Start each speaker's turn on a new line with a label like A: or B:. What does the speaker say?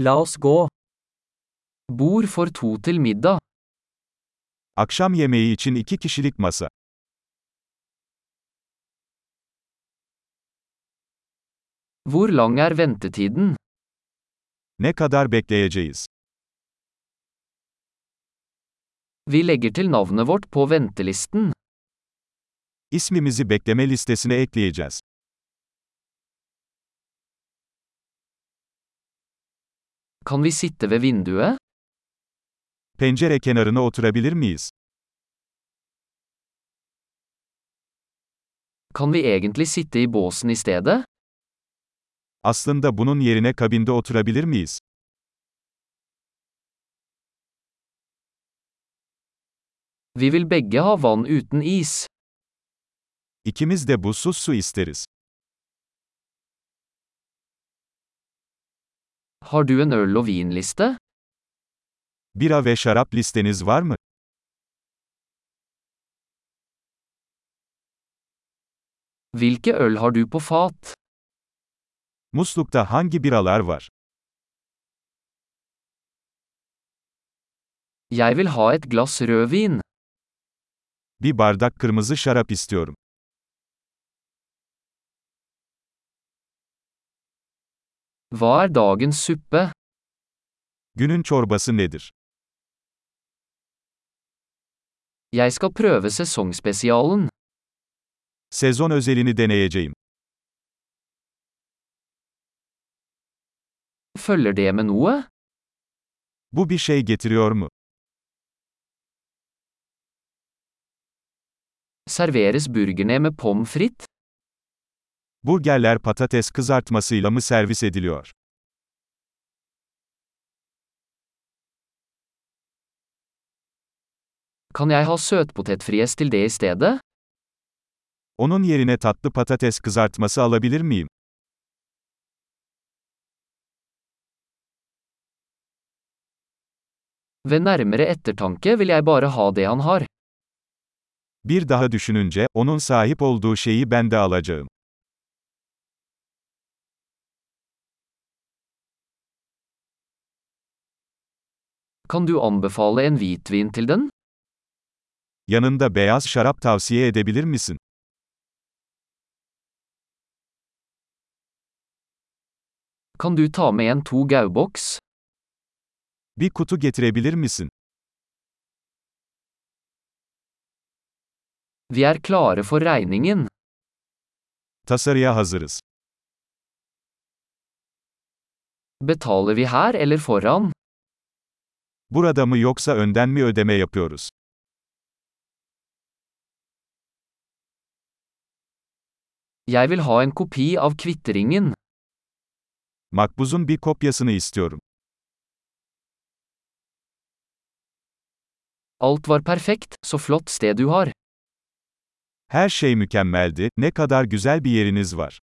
A: La oss gå. Bord for to til middag.
B: Akşam yemeği için iki kişilik masa.
A: Hvor lang er ventetiden?
B: Ne kadar bekleyeceğiz?
A: Vi legger til navnet vårt på ventelisten.
B: İsmimizi bekleme listesine ekleyeceğiz.
A: Kan vi sitte ved vinduet?
B: Pencere kenarına oturabilir miyiz?
A: Kan vi egentlig sitte i båsen i stedet?
B: Aslında bunun yerine kabinde oturabilir miyiz?
A: Vi vil begge ha vann uten is.
B: İkimiz de buzsuz su isteriz.
A: Har du en øl- og vinliste?
B: Bira ve şarap listeniz var mı?
A: Hvilke øl har du på fat?
B: Muslukta hangi biralar var?
A: Jeg vil ha et glass rødvin.
B: Bir bardak kırmızı şarap istiyorum.
A: Hva er dagens suppe?
B: Günün çorbası nedir?
A: Jeg skal prøve sesongspesialen.
B: Sezon özelini deneyeceğim.
A: Følger det med noe?
B: Bu bir şey getiriyor mu?
A: Serveres burgerne med pommes frites?
B: Burgerler patates kızartmasıyla mı servis ediliyor?
A: Kan jeg ha søtpotetfries til det i stedet?
B: Onun yerine tatlı patates kızartması alabilir miyim?
A: Ved nærmere ettertanke vil jeg bare ha det han har.
B: Bir daha düşününce, onun sahip olduğu şeyi ben de alacağım.
A: Kan du anbefale en hvitvin til den?
B: Yanında beyaz şarap tavsiye edebilir misin?
A: Kan du ta med en to gauboks?
B: Bir kutu getirebilir misin?
A: Vi er klare for regningen.
B: Tasarıya hazırız.
A: Betaler vi her eller foran?
B: Burada mı yoksa önden mi ödeme yapıyoruz?
A: Jeg vil ha en kopi av kvitteringen.
B: Makbuzun bir kopyasını istiyorum.
A: Alt var perfekt, så flott sted du har.
B: Her şey mükemmeldi, ne kadar güzel bir yeriniz var.